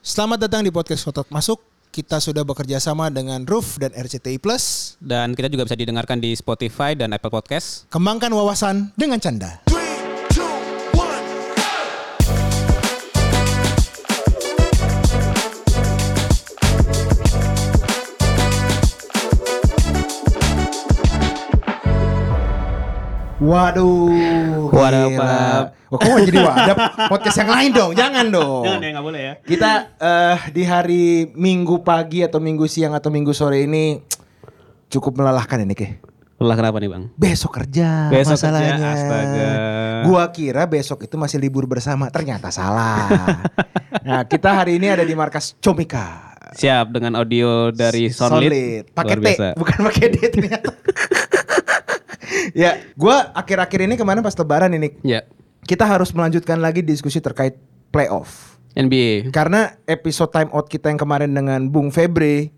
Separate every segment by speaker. Speaker 1: Selamat datang di podcast Kotak Masuk. Kita sudah bekerja sama dengan Roof dan RCTI Plus.
Speaker 2: Dan kita juga bisa didengarkan di Spotify dan Apple Podcast.
Speaker 1: Kembangkan wawasan dengan canda.
Speaker 3: Three, two, one.
Speaker 1: Waduh.
Speaker 2: Waduh,
Speaker 1: gila.
Speaker 2: Pak.
Speaker 1: Wah, kok jadi wadah? Podcast yang lain dong, jangan dong.
Speaker 2: nggak boleh ya.
Speaker 1: Kita eh, di hari Minggu pagi atau Minggu siang atau Minggu sore ini cukup melelahkan ini, Ke.
Speaker 2: Lah kenapa nih bang?
Speaker 1: Besok kerja
Speaker 2: Besok kerja,
Speaker 1: masalahnya.
Speaker 2: astaga.
Speaker 1: Gua kira besok itu masih libur bersama, ternyata salah. nah, kita hari ini ada di markas Comika.
Speaker 2: Siap dengan audio dari Soundlit.
Speaker 1: Solid. Pakai
Speaker 2: Luar
Speaker 1: T,
Speaker 2: biasa.
Speaker 1: bukan pakai D ternyata. ya, gua akhir-akhir ini kemarin pas lebaran ini
Speaker 2: Ya.
Speaker 1: kita harus melanjutkan lagi diskusi terkait playoff.
Speaker 2: NBA.
Speaker 1: Karena episode time out kita yang kemarin dengan Bung Febri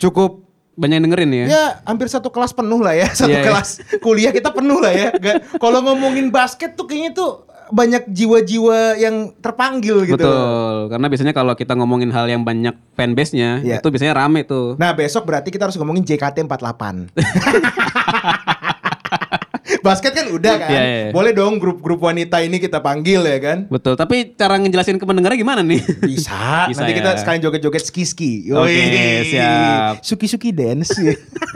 Speaker 1: cukup
Speaker 2: Banyak yang dengerin ya.
Speaker 1: ya hampir satu kelas penuh lah ya, satu
Speaker 2: Iya, iya.
Speaker 1: kelas kuliah kita penuh lah ya. Nggak- Kalau ngomongin basket tuh kayaknya tuh banyak jiwa-jiwa yang terpanggil gitu.
Speaker 2: Betul. Karena biasanya kalau kita ngomongin hal yang banyak fanbase-nya,
Speaker 1: Ya.
Speaker 2: itu biasanya rame tuh.
Speaker 1: Nah besok berarti kita harus ngomongin JKT 48 Basket kan udah kan
Speaker 2: Iya, iya.
Speaker 1: Boleh dong grup-grup wanita ini kita panggil ya kan
Speaker 2: Betul. Tapi cara ngejelasin ke pendengarnya gimana nih?
Speaker 1: bisa.
Speaker 2: Bisa
Speaker 1: Nanti kita
Speaker 2: ya.
Speaker 1: sekalian joget-joget ski-ski.
Speaker 2: Oke,
Speaker 1: Yoi.
Speaker 2: siap.
Speaker 1: Suki-suki dance.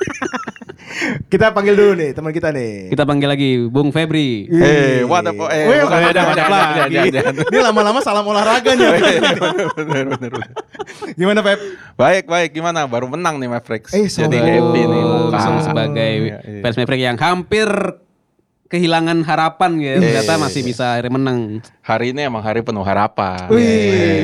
Speaker 1: kita panggil dulu nih teman kita nih.
Speaker 2: kita panggil lagi Bung Febri.
Speaker 1: Ih.
Speaker 4: Eh, what the fuck? Eh,
Speaker 1: Weh,
Speaker 4: bukan,
Speaker 1: what the
Speaker 4: jangan,
Speaker 1: fuck
Speaker 4: jangan,
Speaker 1: lagi.
Speaker 4: jangan, jangan.
Speaker 1: Ini lama-lama salam olahraga nih.
Speaker 4: Bener, bener, bener.
Speaker 1: Gimana Pep?
Speaker 4: Baik, baik. Gimana? Baru menang nih Mavericks.
Speaker 1: Eh,
Speaker 4: Jadi
Speaker 1: sombong.
Speaker 4: happy nih.
Speaker 2: Oh, langsung
Speaker 4: Nah,
Speaker 2: sebagai
Speaker 4: iya, iya.
Speaker 2: fans Maverick yang hampir kehilangan harapan ya.
Speaker 4: Iya,
Speaker 2: Ternyata masih bisa menang.
Speaker 4: Hari ini emang hari penuh harapan.
Speaker 1: Wih.
Speaker 4: Eh,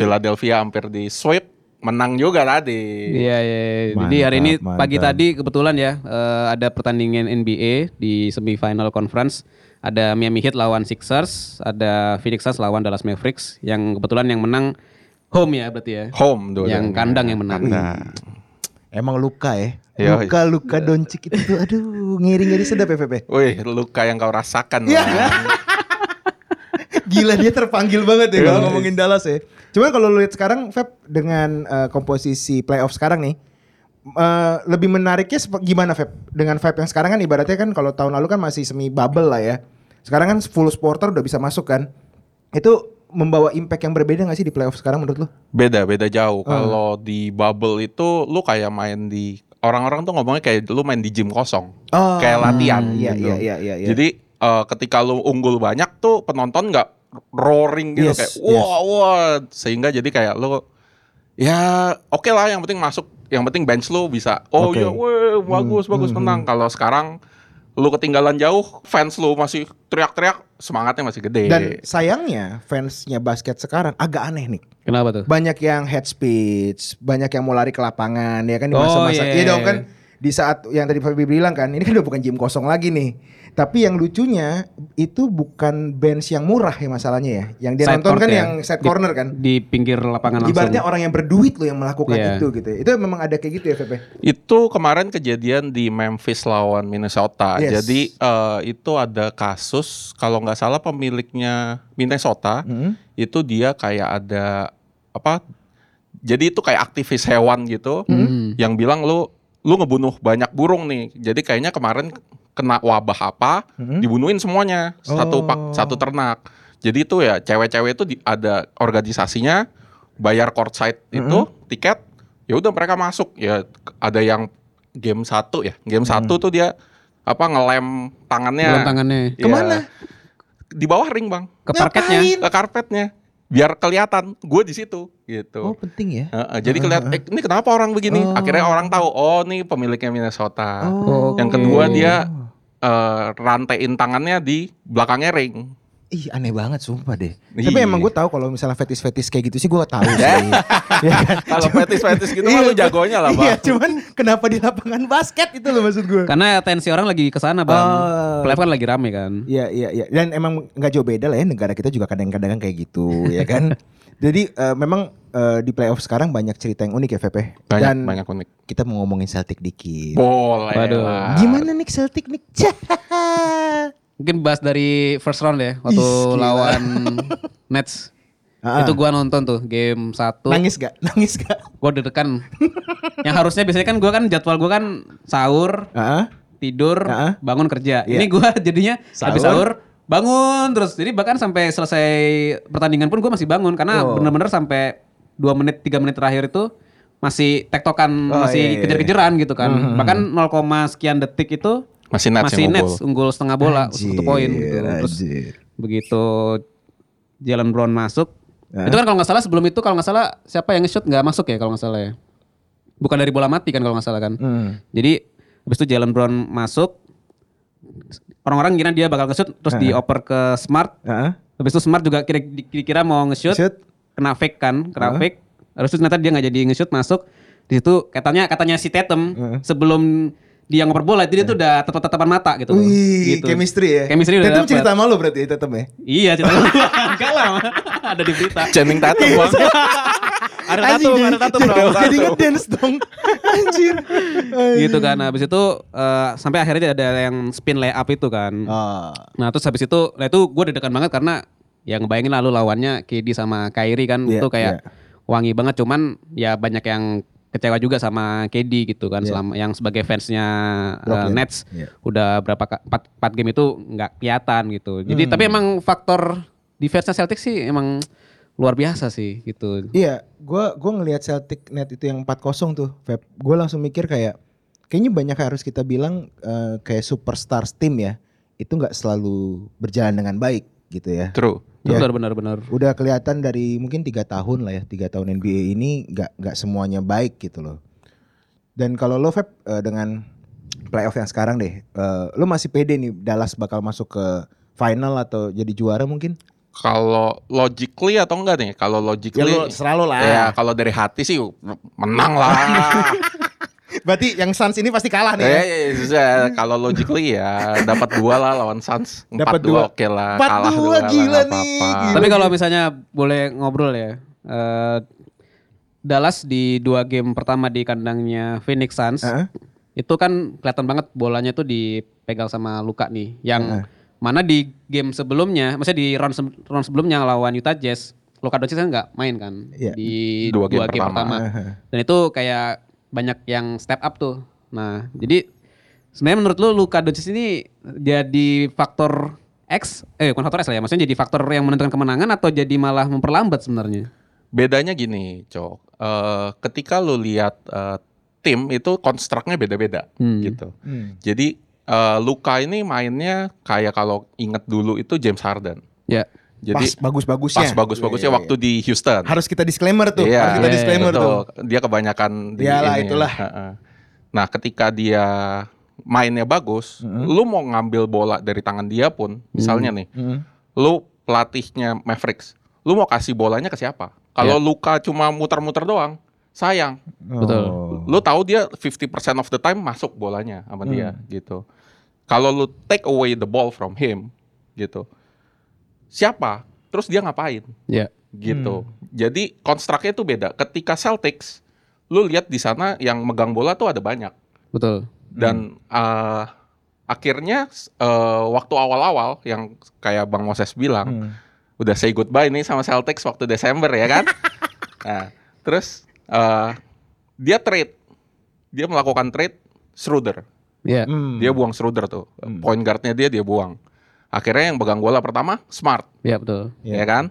Speaker 4: Philadelphia hampir di sweep, menang juga tadi.
Speaker 2: Iya, iya. Jadi hari ini
Speaker 1: Mantap,
Speaker 2: pagi
Speaker 1: mantap.
Speaker 2: tadi kebetulan ya eh, ada pertandingan NBA di semifinal conference. Ada Miami Heat lawan Sixers, ada Phoenix Suns lawan Dallas Mavericks. Yang kebetulan yang menang home ya berarti ya.
Speaker 4: Home dulu.
Speaker 2: Yang kandang yang menang.
Speaker 4: Kandang.
Speaker 1: Emang luka ya.
Speaker 4: Yoi.
Speaker 1: Luka luka doncik itu tuh, aduh ngiri-ngiri sedap ya Pepe.
Speaker 4: Wih, luka yang kau rasakan.
Speaker 1: Iya.
Speaker 4: Bang.
Speaker 1: Gila dia terpanggil banget ya kalau ngomongin Dallas ya. Cuman kalau lu lihat sekarang Feb dengan eh, komposisi playoff sekarang nih eh, lebih menariknya sep- gimana Feb? Dengan Feb yang sekarang kan ibaratnya kan kalau tahun lalu kan masih semi bubble lah ya. Sekarang kan full supporter udah bisa masuk kan. Itu membawa impact yang berbeda gak sih di playoff sekarang menurut lu?
Speaker 4: Beda, beda
Speaker 1: Oh.
Speaker 4: jauh. Kalau di bubble itu lu kayak main di orang-orang tuh ngomongnya kayak lu main di gym kosong.
Speaker 1: Oh,
Speaker 4: kayak latihan
Speaker 1: iya, iya,
Speaker 4: gitu.
Speaker 1: iya, iya, iya.
Speaker 4: Jadi eh, ketika lu unggul banyak tuh penonton nggak roaring gitu
Speaker 1: Yes,
Speaker 4: kayak wah wah sehingga jadi kayak lu ya oke lah yang penting masuk yang penting bench lu bisa oh
Speaker 1: Oke. Hmm,
Speaker 4: iya weh, bagus bagus menang kalau sekarang lu ketinggalan jauh fans lu masih teriak-teriak semangatnya masih gede
Speaker 1: Dan sayangnya fansnya basket sekarang agak aneh nih.
Speaker 2: Kenapa tuh?
Speaker 1: banyak yang head speech, banyak yang mau lari ke lapangan, ya kan di
Speaker 2: Oh,
Speaker 1: masa-masa.
Speaker 2: iya,
Speaker 1: Iya dong
Speaker 2: iya.
Speaker 1: kan di saat yang tadi Fabi bilang kan, ini kan udah bukan gym kosong lagi nih. Tapi yang lucunya itu bukan bench yang murah ya masalahnya ya. Yang dia
Speaker 2: Side
Speaker 1: nonton
Speaker 2: court
Speaker 1: kan
Speaker 2: ya?
Speaker 1: yang side
Speaker 2: Di-
Speaker 1: corner kan.
Speaker 2: Di pinggir lapangan langsung.
Speaker 1: Ibaratnya orang yang berduit loh yang melakukan
Speaker 2: Iya.
Speaker 1: itu gitu. ya. Itu memang ada kayak gitu ya, Pepe.
Speaker 4: Itu kemarin kejadian di Memphis lawan Minnesota.
Speaker 1: Yes.
Speaker 4: Jadi eh, itu ada kasus kalau nggak salah pemiliknya Minnesota
Speaker 1: Hmm.
Speaker 4: itu dia kayak ada apa? Jadi itu kayak aktivis hewan gitu
Speaker 2: Hmm.
Speaker 4: yang bilang lu lu ngebunuh banyak burung nih. Jadi kayaknya kemarin kena wabah apa
Speaker 1: Hmm.
Speaker 4: dibunuhin semuanya
Speaker 1: Oh.
Speaker 4: satu pak satu ternak. Jadi itu ya cewek-cewek itu di- ada organisasinya bayar courtside
Speaker 1: Hmm.
Speaker 4: itu tiket ya udah mereka masuk ya ada yang game satu ya game satu
Speaker 1: Hmm.
Speaker 4: tuh dia apa ngelem
Speaker 1: Iya.
Speaker 4: tangannya
Speaker 2: Belum tangannya.
Speaker 4: Ya,
Speaker 1: Kemana?
Speaker 4: di bawah ring bang
Speaker 2: Ke parketnya.
Speaker 1: Ngapain?
Speaker 4: ke karpetnya biar kelihatan gue di situ
Speaker 1: Oh,
Speaker 4: gitu
Speaker 1: penting ya.
Speaker 4: Heeh, jadi kelihatan eh, ini kenapa orang begini
Speaker 1: Oh.
Speaker 4: akhirnya orang tahu oh ini pemiliknya Minnesota
Speaker 2: Nah.
Speaker 1: Oh.
Speaker 4: yang kedua dia eh, rantaiin tangannya di belakangnya ring.
Speaker 1: Ih aneh banget sumpah deh.
Speaker 4: Ih.
Speaker 1: Tapi emang gue tahu kalau misalnya fetis-fetis kayak gitu sih gue tahu sih. ya kan?
Speaker 4: Kalau fetis-fetis gitu mah
Speaker 1: Iya,
Speaker 4: lu jagonya lah,
Speaker 1: Iya,
Speaker 4: Bang.
Speaker 1: cuman kenapa di lapangan basket itu loh maksud gue.
Speaker 2: Karena tensi orang lagi ke sana, Bang.
Speaker 1: Oh.
Speaker 2: Playoff kan lagi rame kan.
Speaker 1: Iya, iya, iya. Dan emang nggak jauh beda lah ya negara kita juga kadang-kadang kayak gitu, ya kan? Jadi eh, memang eh, di playoff sekarang banyak cerita yang unik ya, VP. Dan
Speaker 4: Banyak banyak unik.
Speaker 1: kita mau ngomongin Celtic dikit.
Speaker 4: Boleh.
Speaker 2: Waduh.
Speaker 4: lah.
Speaker 1: Gimana nih Celtic nih?
Speaker 2: Mungkin bahas dari first round ya waktu
Speaker 1: Is, gila.
Speaker 2: lawan Nets.
Speaker 1: Ah.
Speaker 2: Itu gua nonton tuh game satu.
Speaker 1: Nangis gak? Nangis gak?
Speaker 2: Gua deg-degan. yang harusnya biasanya kan gua kan jadwal gua kan sahur,
Speaker 1: Heeh.
Speaker 2: tidur,
Speaker 1: Ah.
Speaker 2: bangun kerja.
Speaker 1: Iya.
Speaker 2: Ini gua jadinya habis
Speaker 1: Sahur.
Speaker 2: sahur bangun terus. Jadi bahkan sampai selesai pertandingan pun gua masih bangun karena
Speaker 1: Oh.
Speaker 2: bener-bener sampai 2 menit 3 menit terakhir itu masih tektokan
Speaker 1: Oh, iya,
Speaker 2: masih
Speaker 1: iya, iya.
Speaker 2: kejar-kejaran gitu kan. Bahkan 0, sekian detik itu
Speaker 4: Masih Nets
Speaker 2: masih
Speaker 4: yang
Speaker 2: Nets
Speaker 4: unggul.
Speaker 2: unggul setengah bola satu poin gitu. Terus
Speaker 1: anjir.
Speaker 2: begitu Jalen Brown masuk
Speaker 1: Hah?
Speaker 2: itu kan kalau nggak salah sebelum itu kalau nggak salah siapa yang nge-shoot nggak masuk ya kalau nggak salah ya bukan dari bola mati kan kalau nggak salah kan
Speaker 1: Hmm.
Speaker 2: jadi habis itu Jalen Brown masuk orang-orang kira dia bakal nge-shoot terus dioper ke Smart
Speaker 1: Heeh.
Speaker 2: habis itu Smart juga kira- kira-kira mau nge-shoot
Speaker 1: Shoot.
Speaker 2: kena fake kan kena
Speaker 1: Heeh.
Speaker 2: fake terus ternyata dia nggak jadi nge-shoot masuk di situ katanya katanya si Tatum
Speaker 1: Heeh.
Speaker 2: sebelum dia ngoper bola jadi dia tuh udah tatap-tatapan mata gitu loh.
Speaker 1: Wih,
Speaker 2: Gitu.
Speaker 1: chemistry ya.
Speaker 2: Chemistry
Speaker 1: Tatum
Speaker 2: udah dapet.
Speaker 1: cerita sama lu berarti Tatum ya.
Speaker 2: Iya cerita gua. Enggak lah, ada di berita.
Speaker 4: Channing Tatum
Speaker 1: Iya.
Speaker 4: bang.
Speaker 2: Ada tato,
Speaker 1: Anjing,
Speaker 2: ada tato
Speaker 1: jadi-
Speaker 2: bro.
Speaker 1: Jadi ngedance dong. Anjir.
Speaker 2: Gitu kan, habis itu eh, sampai akhirnya ada yang spin layup itu kan.
Speaker 1: Ah.
Speaker 2: Nah terus habis itu, nah itu gue deg-degan banget karena ya ngebayangin lalu lawannya KD sama Kyrie kan
Speaker 1: Iya,
Speaker 2: itu kayak wangi banget cuman ya banyak yang kecewa juga sama KD gitu kan
Speaker 1: Iya.
Speaker 2: selama yang sebagai fansnya eh,
Speaker 1: Brooklyn.
Speaker 2: Nets
Speaker 1: Iya.
Speaker 2: udah berapa ka- empat empat game itu nggak kelihatan gitu. Jadi
Speaker 1: Hmm.
Speaker 2: tapi emang faktor defense Celtics sih emang luar biasa sih gitu.
Speaker 1: Iya, gua gua ngelihat Celtic net itu yang 4-0 tuh, Feb. Gua langsung mikir kayak kayaknya banyak harus kita bilang eh, kayak superstar tim ya. Itu nggak selalu berjalan dengan baik gitu ya.
Speaker 4: True.
Speaker 1: Iya.
Speaker 2: Benar benar benar.
Speaker 1: Udah kelihatan dari mungkin tiga tahun lah ya, tiga tahun
Speaker 4: Hmm.
Speaker 1: NBA ini nggak nggak semuanya baik gitu loh. Dan kalau lo Feb eh, dengan playoff yang sekarang deh, eh, lo masih pede nih Dallas bakal masuk ke final atau jadi juara mungkin?
Speaker 4: Kalau logically atau enggak nih? Kalau
Speaker 1: Ya
Speaker 4: logically
Speaker 1: lo serah lo lah.
Speaker 4: Ya kalau dari hati sih menang lah.
Speaker 1: Berarti yang Suns ini pasti kalah nih. ya?
Speaker 4: Eh, ya, ya, ya, kalau logically ya dapat dua lah lawan Suns. Empat
Speaker 1: Dapat dua.
Speaker 4: dua oke lah.
Speaker 1: Empat
Speaker 4: kalah
Speaker 1: dua,
Speaker 4: dua lah,
Speaker 1: gila
Speaker 4: nggak
Speaker 1: nih,
Speaker 4: apa-apa.
Speaker 1: gila.
Speaker 2: Tapi kalau misalnya boleh ngobrol ya. eh, Dallas di dua game pertama di kandangnya Phoenix Suns
Speaker 1: Heeh.
Speaker 2: itu kan kelihatan banget bolanya tuh dipegang sama Luka nih yang mana di game sebelumnya, maksudnya di round se- round sebelumnya lawan Utah Jazz, Luka Doncic kan nggak main kan
Speaker 1: Iya.
Speaker 2: di
Speaker 4: Dua game
Speaker 2: pertama.
Speaker 4: pertama.
Speaker 2: Dan itu kayak banyak yang step up tuh. Nah, jadi sebenarnya menurut lu Luka Doncic ini jadi faktor X eh bukan faktor X lah ya, maksudnya jadi faktor yang menentukan kemenangan atau jadi malah memperlambat sebenarnya?
Speaker 4: Bedanya gini, Cok. Eh, ketika lu lihat eh, tim itu konstruknya beda-beda
Speaker 2: Hmm.
Speaker 4: gitu.
Speaker 1: Hmm.
Speaker 4: Jadi eh, Luka ini mainnya kayak kalau inget dulu itu James Harden.
Speaker 2: Ya.
Speaker 4: Jadi
Speaker 1: pas bagus-bagusnya.
Speaker 4: pas
Speaker 1: Iya,
Speaker 4: bagus-bagusnya
Speaker 1: iya,
Speaker 4: waktu di Houston.
Speaker 1: iya. harus kita disclaimer tuh,
Speaker 4: Iya,
Speaker 1: harus kita
Speaker 2: iya,
Speaker 1: disclaimer
Speaker 4: Betul.
Speaker 1: tuh.
Speaker 4: Dia kebanyakan
Speaker 1: Iyalah,
Speaker 4: ini.
Speaker 1: itulah.
Speaker 4: Heeh. Nah, ketika dia mainnya bagus,
Speaker 1: Mm-mm.
Speaker 4: lu mau ngambil bola dari tangan dia pun, misalnya nih,
Speaker 1: Heeh.
Speaker 4: lu pelatihnya Mavericks, lu mau kasih bolanya ke siapa?
Speaker 1: Iya.
Speaker 4: Kalau Luka cuma muter-muter doang, sayang.
Speaker 1: Oh.
Speaker 2: Betul.
Speaker 4: Lu tahu dia 50% of the time masuk bolanya sama dia gitu. Kalau lu take away the ball from him gitu. Siapa? Terus dia ngapain?
Speaker 2: Ya.
Speaker 4: gitu. Jadi konstruknya itu beda. Ketika Celtics, lu lihat di sana yang megang bola tuh ada banyak
Speaker 2: Betul.
Speaker 1: Hmm.
Speaker 4: dan eh, akhirnya s- eh, waktu awal-awal yang kayak Bang Moses bilang
Speaker 1: Hmm.
Speaker 4: udah say goodbye nih sama Celtics waktu Desember ya kan. nah, terus eh, dia trade, dia melakukan trade Schroeder.
Speaker 2: Ya.
Speaker 1: Hmm.
Speaker 4: Dia buang Schroeder tuh, point guardnya dia dia buang. Akhirnya yang pegang bola pertama Smart
Speaker 2: Ya betul.
Speaker 1: Iya.
Speaker 4: ya kan?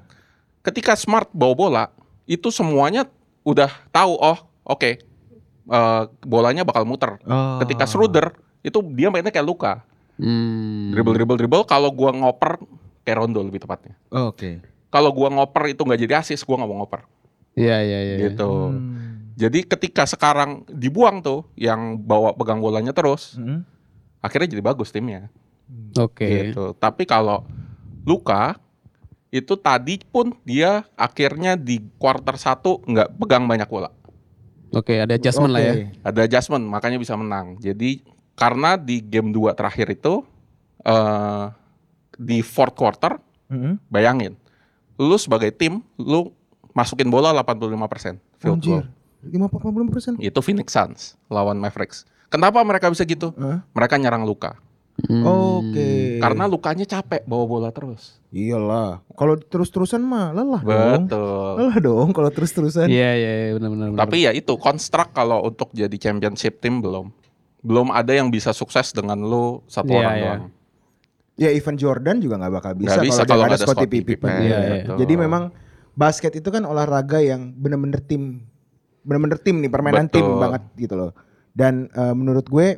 Speaker 4: Ketika Smart bawa bola, itu semuanya udah tahu, oh oke, eh, bolanya bakal muter.
Speaker 1: Oh.
Speaker 4: Ketika Schroeder, itu dia mainnya kayak Luka.
Speaker 2: Hmm.
Speaker 4: Dribble, dribble, dribble, kalau gua ngoper, kayak Rondo lebih tepatnya.
Speaker 1: Oh, Oke.
Speaker 4: Kalau gua ngoper itu nggak jadi asis, gua nggak mau ngoper.
Speaker 2: Iya iya iya.
Speaker 4: Gitu.
Speaker 1: Hmm.
Speaker 4: Jadi ketika sekarang dibuang tuh, yang bawa pegang bolanya terus,
Speaker 1: Hmm.
Speaker 4: akhirnya jadi bagus timnya.
Speaker 2: Oke.
Speaker 4: gitu. Tapi kalau Luka itu tadi pun dia akhirnya di quarter satu nggak pegang banyak bola.
Speaker 2: Oke, ada adjustment lah ya.
Speaker 1: Oke.
Speaker 4: Ada adjustment makanya bisa menang. Jadi karena di game 2 terakhir itu eh di fourth quarter,
Speaker 1: Hmm.
Speaker 4: bayangin. Lu sebagai tim lu masukin bola 85% field
Speaker 1: Anjir.
Speaker 4: goal.
Speaker 1: 50 persen.
Speaker 4: Itu Phoenix Suns lawan Mavericks. Kenapa mereka bisa gitu? Mereka nyerang Luka.
Speaker 2: Hmm.
Speaker 1: Oke.
Speaker 4: Hmm. Karena lukanya capek bawa bola terus.
Speaker 1: iyalah. Kalau terus-terusan mah lelah dong.
Speaker 4: Betul.
Speaker 1: Lelah dong kalau terus-terusan.
Speaker 2: Iya iya iya, benar benar. benar.
Speaker 4: Tapi ya itu konstruk kalau untuk jadi championship team belum. Belum ada yang bisa sukses dengan lu satu
Speaker 2: Iya,
Speaker 4: orang
Speaker 2: iya.
Speaker 4: doang.
Speaker 1: Ya even Jordan juga nggak bakal bisa
Speaker 4: Nggak bisa
Speaker 1: kalau nggak ada Scottie Pippen.
Speaker 4: Pippen.
Speaker 2: Iya, iya.
Speaker 4: Betul.
Speaker 1: Jadi memang basket itu kan olahraga yang bener-bener tim, bener-bener tim nih permainan tim
Speaker 4: Betul.
Speaker 1: banget gitu loh. Dan eh, menurut gue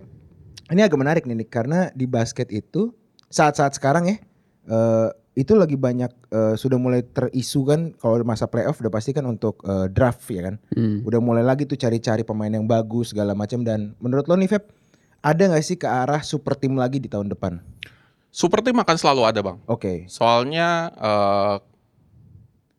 Speaker 1: ini agak menarik nih Nick, karena di basket itu saat-saat sekarang ya eh, itu lagi banyak eh, sudah mulai terisu kan kalau masa playoff udah pasti kan untuk eh, draft ya kan.
Speaker 2: Hmm.
Speaker 1: Udah mulai lagi tuh cari-cari pemain yang bagus segala macam dan menurut lo nih Feb ada nggak sih ke arah super tim lagi di tahun depan?
Speaker 4: Super team akan selalu ada, Bang.
Speaker 1: Oke.
Speaker 4: Soalnya eh,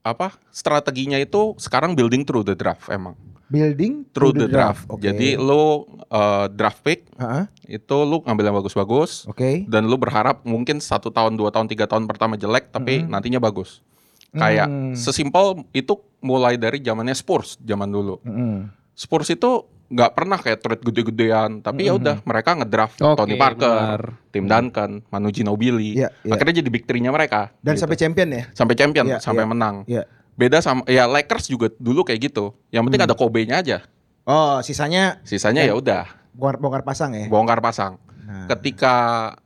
Speaker 4: apa? Strateginya itu sekarang building through the draft emang.
Speaker 1: Building
Speaker 4: Through the, draft.
Speaker 1: Oke.
Speaker 4: Jadi lu eh, draft pick
Speaker 1: Ha-ha,
Speaker 4: itu lu ngambil yang bagus-bagus
Speaker 1: Oke.
Speaker 4: dan lu berharap mungkin satu tahun, dua tahun, tiga tahun pertama jelek tapi
Speaker 1: Mm-mm.
Speaker 4: nantinya bagus. Kayak
Speaker 1: Hmm.
Speaker 4: sesimpel itu mulai dari zamannya Spurs zaman dulu.
Speaker 1: Mm-mm.
Speaker 4: Spurs itu nggak pernah kayak trade gede-gedean, tapi
Speaker 1: Hmm.
Speaker 4: ya udah mereka ngedraft
Speaker 2: Oke,
Speaker 4: Tony Parker,
Speaker 2: benar.
Speaker 4: Tim Duncan, Manu Ginobili.
Speaker 1: Iya, iya.
Speaker 4: Akhirnya jadi big three-nya mereka.
Speaker 1: Dan
Speaker 4: gitu.
Speaker 1: sampai champion ya?
Speaker 4: sampai champion,
Speaker 1: Iya,
Speaker 4: sampai
Speaker 1: iya.
Speaker 4: menang.
Speaker 1: Iya.
Speaker 4: Beda sama ya Lakers juga dulu kayak gitu. Yang
Speaker 1: Hmm.
Speaker 4: penting ada Kobe-nya aja.
Speaker 1: Oh, sisanya
Speaker 4: Sisanya
Speaker 1: Iya.
Speaker 4: ya udah
Speaker 1: bongkar, bongkar pasang ya.
Speaker 4: bongkar pasang.
Speaker 1: Nah.
Speaker 4: Ketika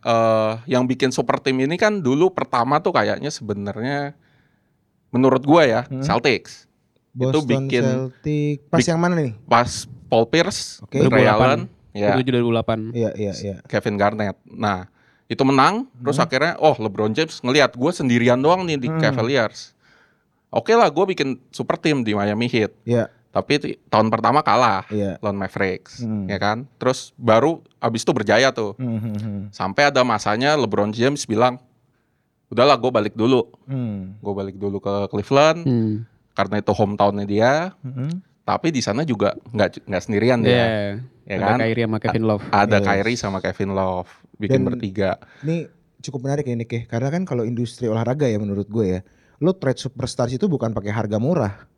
Speaker 4: eh, yang bikin super team ini kan dulu pertama tuh kayaknya sebenarnya menurut gua ya
Speaker 1: Hmm.
Speaker 4: Celtics itu bikin-
Speaker 1: Celtic. Pas
Speaker 4: bik-
Speaker 1: yang mana nih?
Speaker 4: pas Paul Pierce,
Speaker 1: Oke.
Speaker 4: Ray
Speaker 2: 2008.
Speaker 4: Allen, ya
Speaker 2: 7 2008.
Speaker 1: Iya, iya, iya.
Speaker 4: Kevin Garnett. Nah, itu menang terus akhirnya oh LeBron James ngelihat gua sendirian doang nih di
Speaker 1: Hmm.
Speaker 4: Cavaliers. Oke lah gua bikin super team di Miami Heat.
Speaker 1: Iya,
Speaker 4: Tapi ti- tahun pertama kalah
Speaker 1: iya.
Speaker 4: lawan Mavericks,
Speaker 1: Hmm.
Speaker 4: ya kan? Terus baru abis itu berjaya tuh.
Speaker 1: Hmm, hmm, hmm.
Speaker 4: Sampai ada masanya LeBron James bilang, udahlah gue balik dulu,
Speaker 1: Hmm,
Speaker 4: gue balik dulu ke Cleveland
Speaker 2: Hmm.
Speaker 4: karena itu hometownnya dia.
Speaker 1: hmm.
Speaker 4: Tapi di sana juga nggak nggak sendirian
Speaker 2: Iya.
Speaker 4: dia, ya kan?
Speaker 2: Ada Kyrie sama Kevin Love.
Speaker 4: Ada
Speaker 1: Yes.
Speaker 4: Kyrie sama Kevin Love bikin
Speaker 1: Dan-
Speaker 4: bertiga.
Speaker 1: Ini cukup menarik ya Nick ya. Karena kan kalau industri olahraga ya menurut gue ya. Lo trade superstars itu bukan pakai harga murah.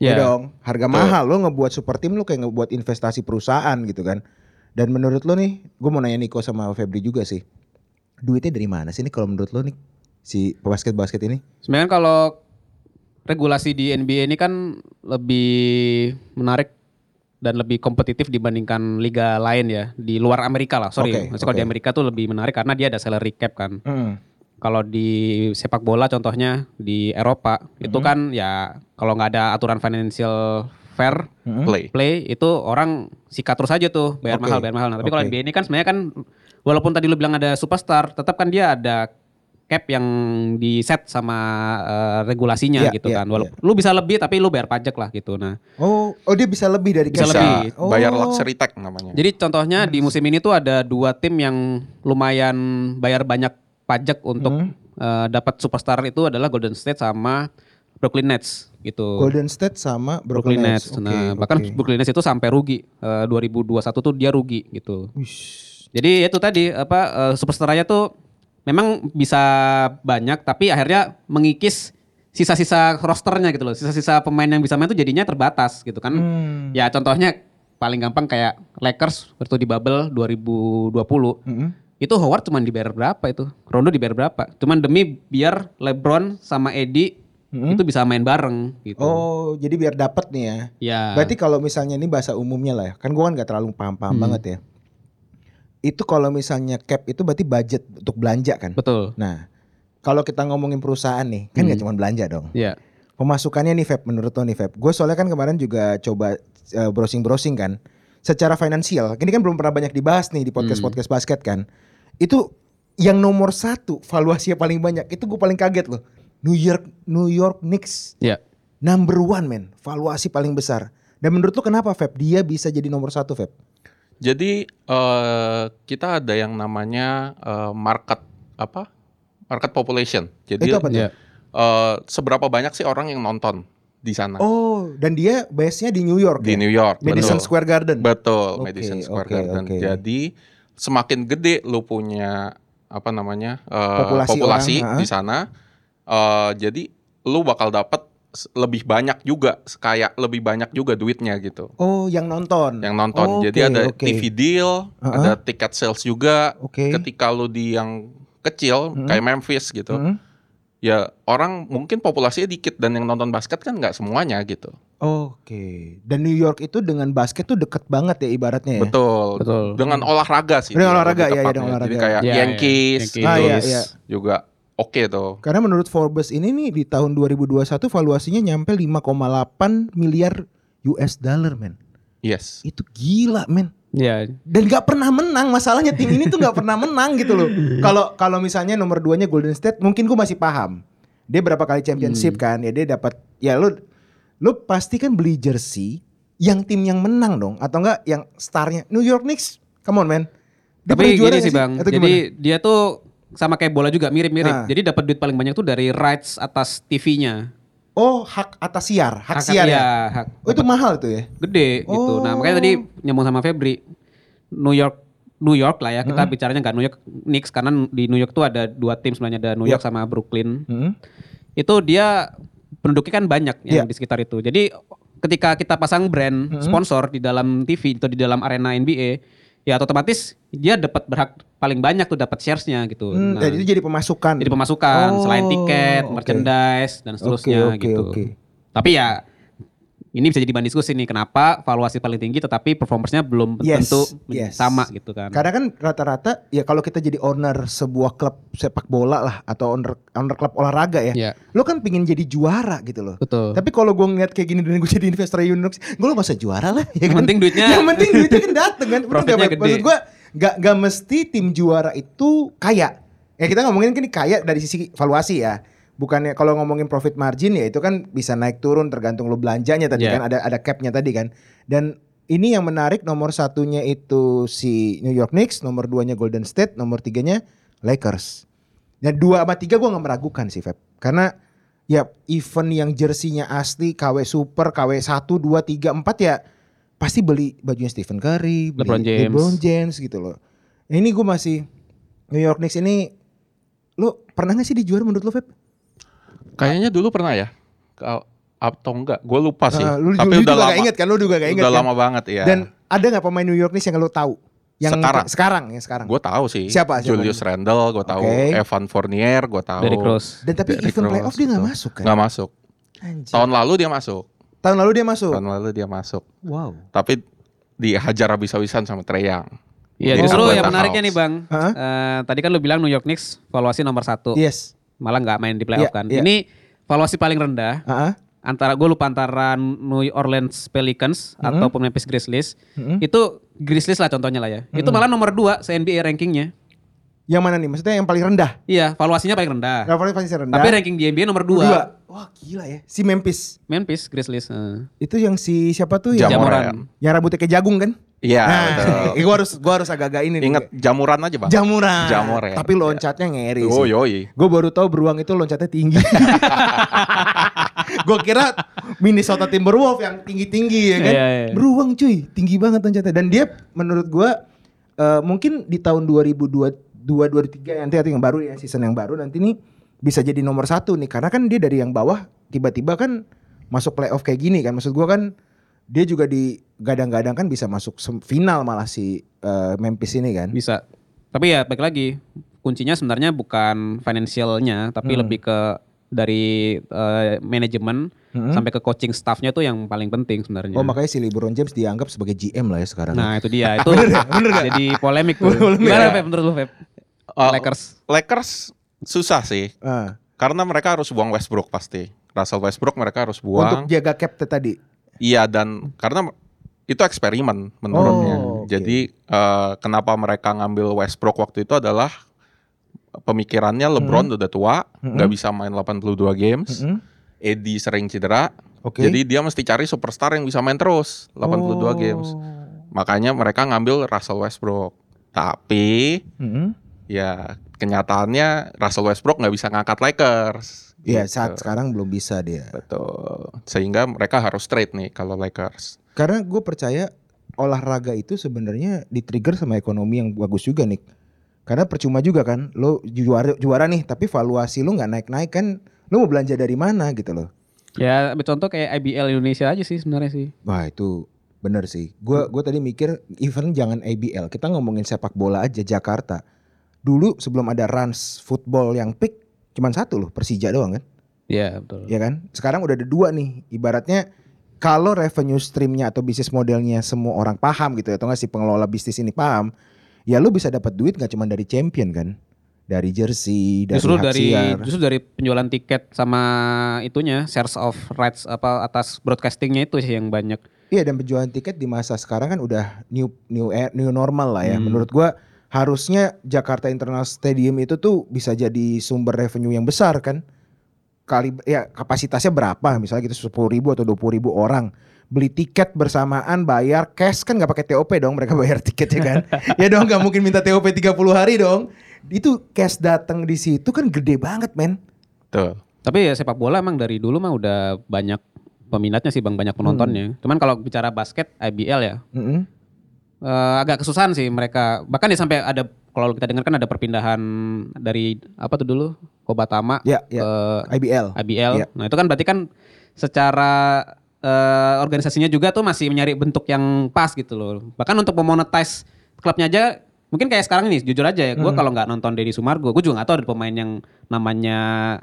Speaker 1: Ya
Speaker 2: Iya.
Speaker 1: dong, harga
Speaker 4: Betul.
Speaker 1: mahal lo ngebuat super tim lo kayak ngebuat investasi perusahaan gitu kan. Dan menurut lo nih, gue mau nanya Niko sama Febri juga sih. Duitnya dari mana sih ini kalau menurut lo nih si basket-basket ini?
Speaker 2: Sebenarnya kalau regulasi di NBA ini kan lebih menarik dan lebih kompetitif dibandingkan liga lain ya di luar Amerika lah. Sorry,
Speaker 1: Oke,
Speaker 2: maksudnya kalau
Speaker 1: oke.
Speaker 2: di Amerika tuh lebih menarik karena dia ada salary cap kan.
Speaker 1: Hmm.
Speaker 2: Kalau di sepak bola contohnya di Eropa itu
Speaker 1: Mm-hmm.
Speaker 2: kan ya kalau nggak ada aturan financial fair
Speaker 4: Play.
Speaker 2: play itu orang sikat terus aja tuh bayar
Speaker 1: Oke.
Speaker 2: mahal bayar mahal. Nah, tapi kalau
Speaker 1: Oke.
Speaker 2: NBA ini kan sebenarnya kan walaupun tadi lu bilang ada superstar, tetap kan dia ada cap yang di set sama eh, regulasinya
Speaker 1: Iya,
Speaker 2: gitu
Speaker 1: iya,
Speaker 2: kan. Walaupun lu bisa lebih tapi lu bayar pajak lah gitu. Nah,
Speaker 1: Oh, oh dia bisa lebih dari
Speaker 2: Bisa
Speaker 1: cash.
Speaker 2: lebih.
Speaker 1: Oh.
Speaker 4: bayar luxury tax
Speaker 1: Iya.
Speaker 4: namanya.
Speaker 2: jadi contohnya di musim ini tuh ada dua tim yang lumayan bayar banyak pajak untuk
Speaker 1: Hmm.
Speaker 2: eh, dapat superstar itu adalah Golden State sama Brooklyn Nets gitu.
Speaker 1: Golden State sama Brooklyn, Nets. Oke,
Speaker 2: Nah, bahkan
Speaker 1: oke.
Speaker 2: Brooklyn Nets itu sampai rugi. Eh, 2021 tuh dia rugi gitu.
Speaker 1: Wish.
Speaker 2: Jadi itu tadi apa eh, superstarnya tuh memang bisa banyak tapi akhirnya mengikis sisa-sisa rosternya gitu loh. Sisa-sisa pemain yang bisa main tuh jadinya terbatas gitu kan.
Speaker 1: Hmm.
Speaker 2: Ya contohnya paling gampang kayak Lakers waktu di bubble 2020. Hmm.
Speaker 1: Mm-mm.
Speaker 2: Itu Howard cuman dibayar berapa itu? Rondo dibayar berapa? Cuman demi biar LeBron sama Eddie
Speaker 1: Mm-mm.
Speaker 2: itu bisa main bareng gitu.
Speaker 1: Hmm? Oh, jadi biar dapat nih ya.
Speaker 2: Ya.
Speaker 1: Berarti kalau misalnya ini bahasa umumnya lah ya. Kan gua kan gak terlalu paham-paham
Speaker 2: Hmm.
Speaker 1: banget ya. Itu kalau misalnya cap itu berarti budget untuk belanja kan?
Speaker 2: betul.
Speaker 1: Nah, kalau kita ngomongin perusahaan nih, kan nggak
Speaker 2: Hmm.
Speaker 1: cuma belanja dong.
Speaker 2: Ya.
Speaker 4: Iya.
Speaker 1: Pemasukannya nih Feb, menurut lo nih Feb. Gue soalnya kan kemarin juga coba eh, browsing-browsing kan. Secara finansial, ini kan belum pernah banyak dibahas nih di
Speaker 4: Hmm.
Speaker 1: podcast-podcast basket kan. Itu yang nomor satu valuasinya paling banyak, itu gue paling kaget loh. New York New York Knicks
Speaker 2: Ya.
Speaker 4: Iya.
Speaker 1: number one men, valuasi paling besar. Dan menurut lo kenapa Feb? Dia bisa jadi nomor satu Feb?
Speaker 4: Jadi eh, kita ada yang namanya eh, market apa? Market population. Jadi
Speaker 1: Itu apa tuh?
Speaker 2: Ya.
Speaker 4: eh, seberapa banyak sih orang yang nonton di sana?
Speaker 1: Oh, dan dia base-nya di New York
Speaker 4: Nah. di
Speaker 1: ya?
Speaker 4: New York.
Speaker 1: Madison
Speaker 4: betul.
Speaker 1: Square Garden.
Speaker 4: Betul,
Speaker 1: Oke,
Speaker 4: Madison Square
Speaker 1: oke,
Speaker 4: Garden.
Speaker 1: oke.
Speaker 4: Jadi semakin gede lu punya apa namanya? eh,
Speaker 1: Populasi
Speaker 4: populasi
Speaker 1: orang, ha.
Speaker 4: di sana eh, jadi lu bakal dapat s- lebih banyak juga kayak lebih banyak juga duitnya gitu
Speaker 1: Oh, yang nonton.
Speaker 4: yang nonton.
Speaker 1: Oke,
Speaker 4: Jadi ada
Speaker 1: oke.
Speaker 4: TV deal,
Speaker 1: Uh-uh.
Speaker 4: ada tiket sales juga.
Speaker 1: Oke.
Speaker 4: Ketika lu di yang kecil
Speaker 1: Mm.
Speaker 4: kayak Memphis gitu,
Speaker 1: Hmm.
Speaker 4: ya orang mungkin populasinya dikit dan yang nonton basket kan nggak semuanya gitu.
Speaker 1: Oke. Dan New York itu dengan basket tuh deket banget ya ibaratnya. ya?
Speaker 4: Betul.
Speaker 2: Betul.
Speaker 4: Dengan olahraga sih. Iya,
Speaker 1: Dengan
Speaker 4: lebih
Speaker 1: olahraga, ya, ya,
Speaker 4: tepatnya.
Speaker 1: dengan
Speaker 4: Jadi
Speaker 1: olahraga.
Speaker 4: kayak
Speaker 2: Ya, ya.
Speaker 4: Iya, Yankees,
Speaker 2: Yankees.
Speaker 1: Ah, iya,
Speaker 4: Eagles
Speaker 1: iya.
Speaker 4: juga oke tuh.
Speaker 1: Karena menurut Forbes ini nih di tahun 2021 valuasinya nyampe 5,8 miliar US dollar, men.
Speaker 4: Yes.
Speaker 1: Itu gila, men.
Speaker 2: Ya,
Speaker 1: Dan gak pernah menang, masalahnya tim ini tuh gak pernah menang gitu loh. Kalau kalau misalnya nomor 2-nya Golden State, mungkin gue masih paham. Dia berapa kali
Speaker 2: Hmm.
Speaker 1: championship kan? Ya dia dapat ya lu lu pasti kan beli jersey yang tim yang menang dong atau enggak yang starnya New York Knicks. Come on, man. Dia pernah
Speaker 2: tapi
Speaker 1: juara
Speaker 2: gini
Speaker 1: nggak
Speaker 2: sih bang.
Speaker 1: Atau
Speaker 2: Jadi
Speaker 1: gimana?
Speaker 2: dia tuh sama kayak bola juga mirip-mirip.
Speaker 1: Ah.
Speaker 2: Jadi dapat duit paling banyak tuh dari rights atas TV-nya.
Speaker 1: oh hak atas siar, hak, siar ya.
Speaker 2: hak.
Speaker 1: Oh, itu Oh. mahal tuh ya.
Speaker 2: gede gitu. Nah makanya tadi nyambung sama Febri, New York New York lah ya kita bicaranya nggak New York Knicks karena di New York tuh ada dua tim sebenarnya ada New York
Speaker 1: Iya.
Speaker 2: sama Brooklyn.
Speaker 1: Hmm.
Speaker 2: Itu dia penduduknya kan banyak yang
Speaker 1: Iya. Mm-hmm.
Speaker 2: di sekitar itu. Jadi ketika kita pasang brand sponsor di dalam TV atau di dalam arena NBA ya otomatis dia dapat berhak paling banyak tuh dapat sharesnya gitu.
Speaker 1: Hmm,
Speaker 2: Nah,
Speaker 1: jadi jadi pemasukan.
Speaker 2: jadi pemasukan
Speaker 1: Oh,
Speaker 2: selain tiket,
Speaker 1: oke.
Speaker 2: merchandise dan
Speaker 1: Oke,
Speaker 2: seterusnya
Speaker 1: oke,
Speaker 2: gitu.
Speaker 1: oke.
Speaker 2: Tapi ya ini bisa jadi bahan diskusi nih kenapa valuasi paling tinggi tetapi performersnya belum
Speaker 1: Yes,
Speaker 2: tentu men-
Speaker 1: yes.
Speaker 2: sama gitu kan.
Speaker 1: Karena kan rata-rata ya kalau kita jadi owner sebuah klub sepak bola lah atau owner owner klub olahraga ya,
Speaker 2: Iya.
Speaker 1: lo kan pingin jadi juara gitu loh.
Speaker 2: Betul.
Speaker 1: Tapi kalau gue ngeliat kayak gini dan gue jadi investor Unix, gue lo gak usah juara lah. Ya
Speaker 2: Yang
Speaker 1: kan?
Speaker 2: penting duitnya-
Speaker 1: Yang penting duitnya kan dateng kan. Bener nggak,
Speaker 2: Profitnya
Speaker 1: Pak?
Speaker 2: gede.
Speaker 1: Maksud gue gak, gak mesti tim juara itu kaya. Ya kita ngomongin kan kaya dari sisi valuasi ya. Bukannya kalau ngomongin profit margin ya itu kan bisa naik turun tergantung lo belanjanya tadi
Speaker 2: Iya.
Speaker 1: kan ada ada capnya tadi kan. Dan ini yang menarik nomor satunya itu si New York Knicks, nomor duanya Golden State, nomor tiganya Lakers. Dan Nah, dua sama tiga gue nggak meragukan sih Feb, karena ya event yang jersinya asli KW Super, KW 1, 2, 3, 4 ya pasti beli bajunya Stephen Curry, beli
Speaker 2: LeBron James.
Speaker 1: LeBron James gitu loh. Ini gue masih New York Knicks ini lu pernah gak sih dijuara menurut lu Feb?
Speaker 4: Kayaknya dulu pernah ya. Kal- Atau enggak? Gue lupa Ah, sih.
Speaker 1: Eh, lu, lu
Speaker 4: Tapi udah
Speaker 1: juga
Speaker 4: lama.
Speaker 1: gak inget kan, lu juga gak inget
Speaker 4: udah
Speaker 1: kan?
Speaker 4: lama banget ya.
Speaker 1: Dan ada gak pemain New York Knicks yang lu tahu? Yang
Speaker 4: Sekarang?
Speaker 1: sekarang yang sekarang.
Speaker 4: gue tahu sih.
Speaker 1: Siapa, siapa?
Speaker 4: Julius Randle, gue tahu.
Speaker 1: Oke.
Speaker 4: Evan Fournier, gue tahu.
Speaker 2: Dari Cross.
Speaker 1: Dan tapi
Speaker 4: Derrick
Speaker 1: event
Speaker 4: Rose
Speaker 1: playoff dia gak
Speaker 4: gitu.
Speaker 1: masuk kan?
Speaker 4: Nggak masuk.
Speaker 1: Anjir.
Speaker 4: Tahun lalu dia masuk.
Speaker 1: Tahun lalu dia masuk.
Speaker 4: Tahun lalu dia masuk.
Speaker 1: Wow.
Speaker 4: Tapi dihajar habis-habisan sama Trey Young.
Speaker 1: Oh
Speaker 2: Iya
Speaker 4: Jadi
Speaker 2: justru
Speaker 4: Atlanta
Speaker 2: yang menariknya nih
Speaker 4: Hawks.
Speaker 2: bang.
Speaker 1: Hah?
Speaker 2: eh, tadi kan lu bilang New York Knicks valuasi nomor satu,
Speaker 1: Yes.
Speaker 2: malah nggak main di playoff
Speaker 1: Iya,
Speaker 2: kan.
Speaker 1: iya.
Speaker 2: Ini valuasi paling rendah
Speaker 1: Heeh.
Speaker 2: antara gue lupa antara New Orleans Pelicans
Speaker 1: Hmm.
Speaker 2: ataupun Memphis Grizzlies
Speaker 1: Mhm.
Speaker 2: itu Grizzlies lah contohnya lah ya
Speaker 1: Hmm.
Speaker 2: itu malah nomor dua se NBA rankingnya
Speaker 1: Yang mana nih? Maksudnya yang paling rendah.
Speaker 2: iya valuasinya paling rendah
Speaker 1: Rafael pasti rendah.
Speaker 2: tapi ranking di NBA nomor dua,
Speaker 1: Dua. Wah gila ya. Si Memphis.
Speaker 2: Memphis Grizzlies eh.
Speaker 1: Itu yang si siapa tuh?
Speaker 4: Jamoran.
Speaker 1: Yang, yang rambutnya kayak jagung kan?
Speaker 4: Iya,
Speaker 1: iya. Nah,
Speaker 4: betul.
Speaker 1: gue harus gua harus agak-agak ini. nih.
Speaker 4: Ingat jamuran aja bang.
Speaker 1: Jamuran.
Speaker 4: Jamoran.
Speaker 1: Tapi loncatnya ngeri
Speaker 4: Oh
Speaker 1: sih.
Speaker 4: yoi.
Speaker 1: Gue baru tahu beruang itu loncatnya tinggi. gue kira Minnesota Timberwolves yang tinggi-tinggi ya kan.
Speaker 2: Iya, iya.
Speaker 1: Beruang cuy, tinggi banget loncatnya. Dan dia menurut gue eh, mungkin di tahun 2022 2023 nanti atau yang baru ya season yang baru nanti nih bisa jadi nomor satu nih karena kan dia dari yang bawah tiba-tiba kan masuk playoff kayak gini kan maksud gue kan dia juga di gadang-gadang kan bisa masuk sem- final malah si eh, Memphis ini kan
Speaker 2: bisa tapi ya baik lagi kuncinya sebenarnya bukan financialnya
Speaker 1: Hmm.
Speaker 2: tapi lebih ke dari eh, manajemen
Speaker 4: Hmm.
Speaker 2: sampai ke coaching staffnya tuh yang paling penting sebenarnya
Speaker 1: Hmm? oh makanya si LeBron James dianggap sebagai GM lah ya sekarang
Speaker 2: nah itu dia itu jadi polemik tuh
Speaker 1: ya? Polemik
Speaker 2: gimana
Speaker 1: ya. Oh.
Speaker 2: Feb menurut lu Feb
Speaker 4: Eh,
Speaker 2: Lakers
Speaker 4: Lakers susah sih.
Speaker 1: Ah.
Speaker 4: Karena mereka harus buang Westbrook pasti. Russell Westbrook mereka harus
Speaker 1: Untuk
Speaker 4: buang.
Speaker 1: jaga cap te- tadi.
Speaker 4: Iya dan karena itu eksperimen menurutnya.
Speaker 1: Oh, oke.
Speaker 4: Jadi eh, kenapa mereka ngambil Westbrook waktu itu adalah pemikirannya LeBron
Speaker 1: Hmm.
Speaker 4: udah tua,
Speaker 1: Mm-mm.
Speaker 4: nggak bisa main 82
Speaker 2: Mm-hmm.
Speaker 4: games.
Speaker 1: Mm-mm.
Speaker 4: Eddie sering cedera.
Speaker 1: Hmm. Oke. Oh.
Speaker 4: Jadi dia mesti cari superstar yang bisa main terus 82
Speaker 2: Oh.
Speaker 4: games. Makanya mereka ngambil Russell Westbrook. Tapi
Speaker 1: Mm-mm.
Speaker 4: ya kenyataannya Russell Westbrook nggak bisa ngangkat Lakers.
Speaker 1: Iya,
Speaker 4: Gitu.
Speaker 1: saat sekarang belum bisa dia.
Speaker 4: Betul. Sehingga mereka harus trade nih kalau Lakers.
Speaker 1: Karena gue percaya olahraga itu sebenarnya di-trigger sama ekonomi yang bagus juga nih. Karena percuma juga kan, lo juara juara nih, tapi valuasi lo nggak naik naik kan, lo mau belanja dari mana gitu loh.
Speaker 2: Ya, ambil contoh kayak IBL Indonesia aja sih sebenarnya sih.
Speaker 1: Wah itu bener sih. Gue gua tadi mikir event jangan ABL. Kita ngomongin sepak bola aja Jakarta. Dulu sebelum ada runs football yang peak cuman satu loh Persija doang kan.
Speaker 2: Iya, betul.
Speaker 1: Ya kan? Sekarang udah ada dua nih. Ibaratnya kalau revenue streamnya atau bisnis modelnya semua orang paham gitu ya, atau nggak si pengelola bisnis ini paham, ya lu bisa dapat duit nggak cuma dari champion kan, dari jersey, dari
Speaker 2: justru
Speaker 1: hak
Speaker 2: dari
Speaker 1: siar.
Speaker 2: justru dari penjualan tiket sama itunya shares of rights apa atas broadcastingnya itu sih yang banyak.
Speaker 1: Iya dan penjualan tiket di masa sekarang kan udah new new e- new normal lah ya.
Speaker 2: Hmm.
Speaker 1: Menurut gua harusnya Jakarta International Stadium itu tuh bisa jadi sumber revenue yang besar kan. Kali ya kapasitasnya berapa misalnya gitu 10 ribu atau 20 ribu orang beli tiket bersamaan bayar cash kan nggak pakai TOP dong mereka bayar tiket ya kan ya dong nggak mungkin minta TOP 30 hari dong itu cash datang di situ kan gede banget men
Speaker 4: Tuh.
Speaker 2: Tapi ya sepak bola emang dari dulu mah udah banyak peminatnya sih Bang, banyak
Speaker 1: Hmm.
Speaker 2: penontonnya. Cuman kalau bicara basket IBL ya
Speaker 1: Mm-mm.
Speaker 2: eh, agak kesusahan sih mereka. Bahkan ya sampai ada kalau kita dengar kan ada perpindahan dari apa tuh dulu Kobatama
Speaker 1: ya ya
Speaker 2: ke
Speaker 1: IBL
Speaker 2: IBL.
Speaker 1: Iya.
Speaker 2: Nah itu kan berarti kan secara eh, organisasinya juga tuh masih nyari bentuk yang pas gitu loh. Bahkan untuk memonetize klubnya aja mungkin kayak sekarang ini jujur aja ya gue kalau nggak nonton Deddy Sumargo gue juga nggak tahu ada pemain yang namanya